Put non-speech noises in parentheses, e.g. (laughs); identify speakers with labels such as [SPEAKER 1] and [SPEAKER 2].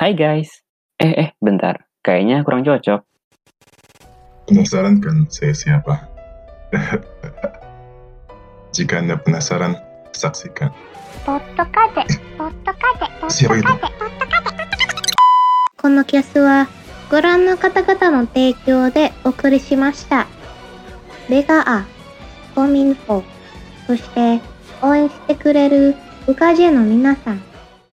[SPEAKER 1] Hai guys. Eh, eh, bentar. Kayaknya kurang cocok.
[SPEAKER 2] Penasaran kan saya siapa? (laughs) Jika Anda penasaran, saksikan.
[SPEAKER 3] ポッドカテ、ポッドカテ、ポッド
[SPEAKER 2] Siapa
[SPEAKER 3] カ
[SPEAKER 2] itu?
[SPEAKER 3] テ。
[SPEAKER 4] このキャスはご覧の方々の提供でお送りしました。レガア、コミンフォ、そして応援してくれるウカジェの皆さん、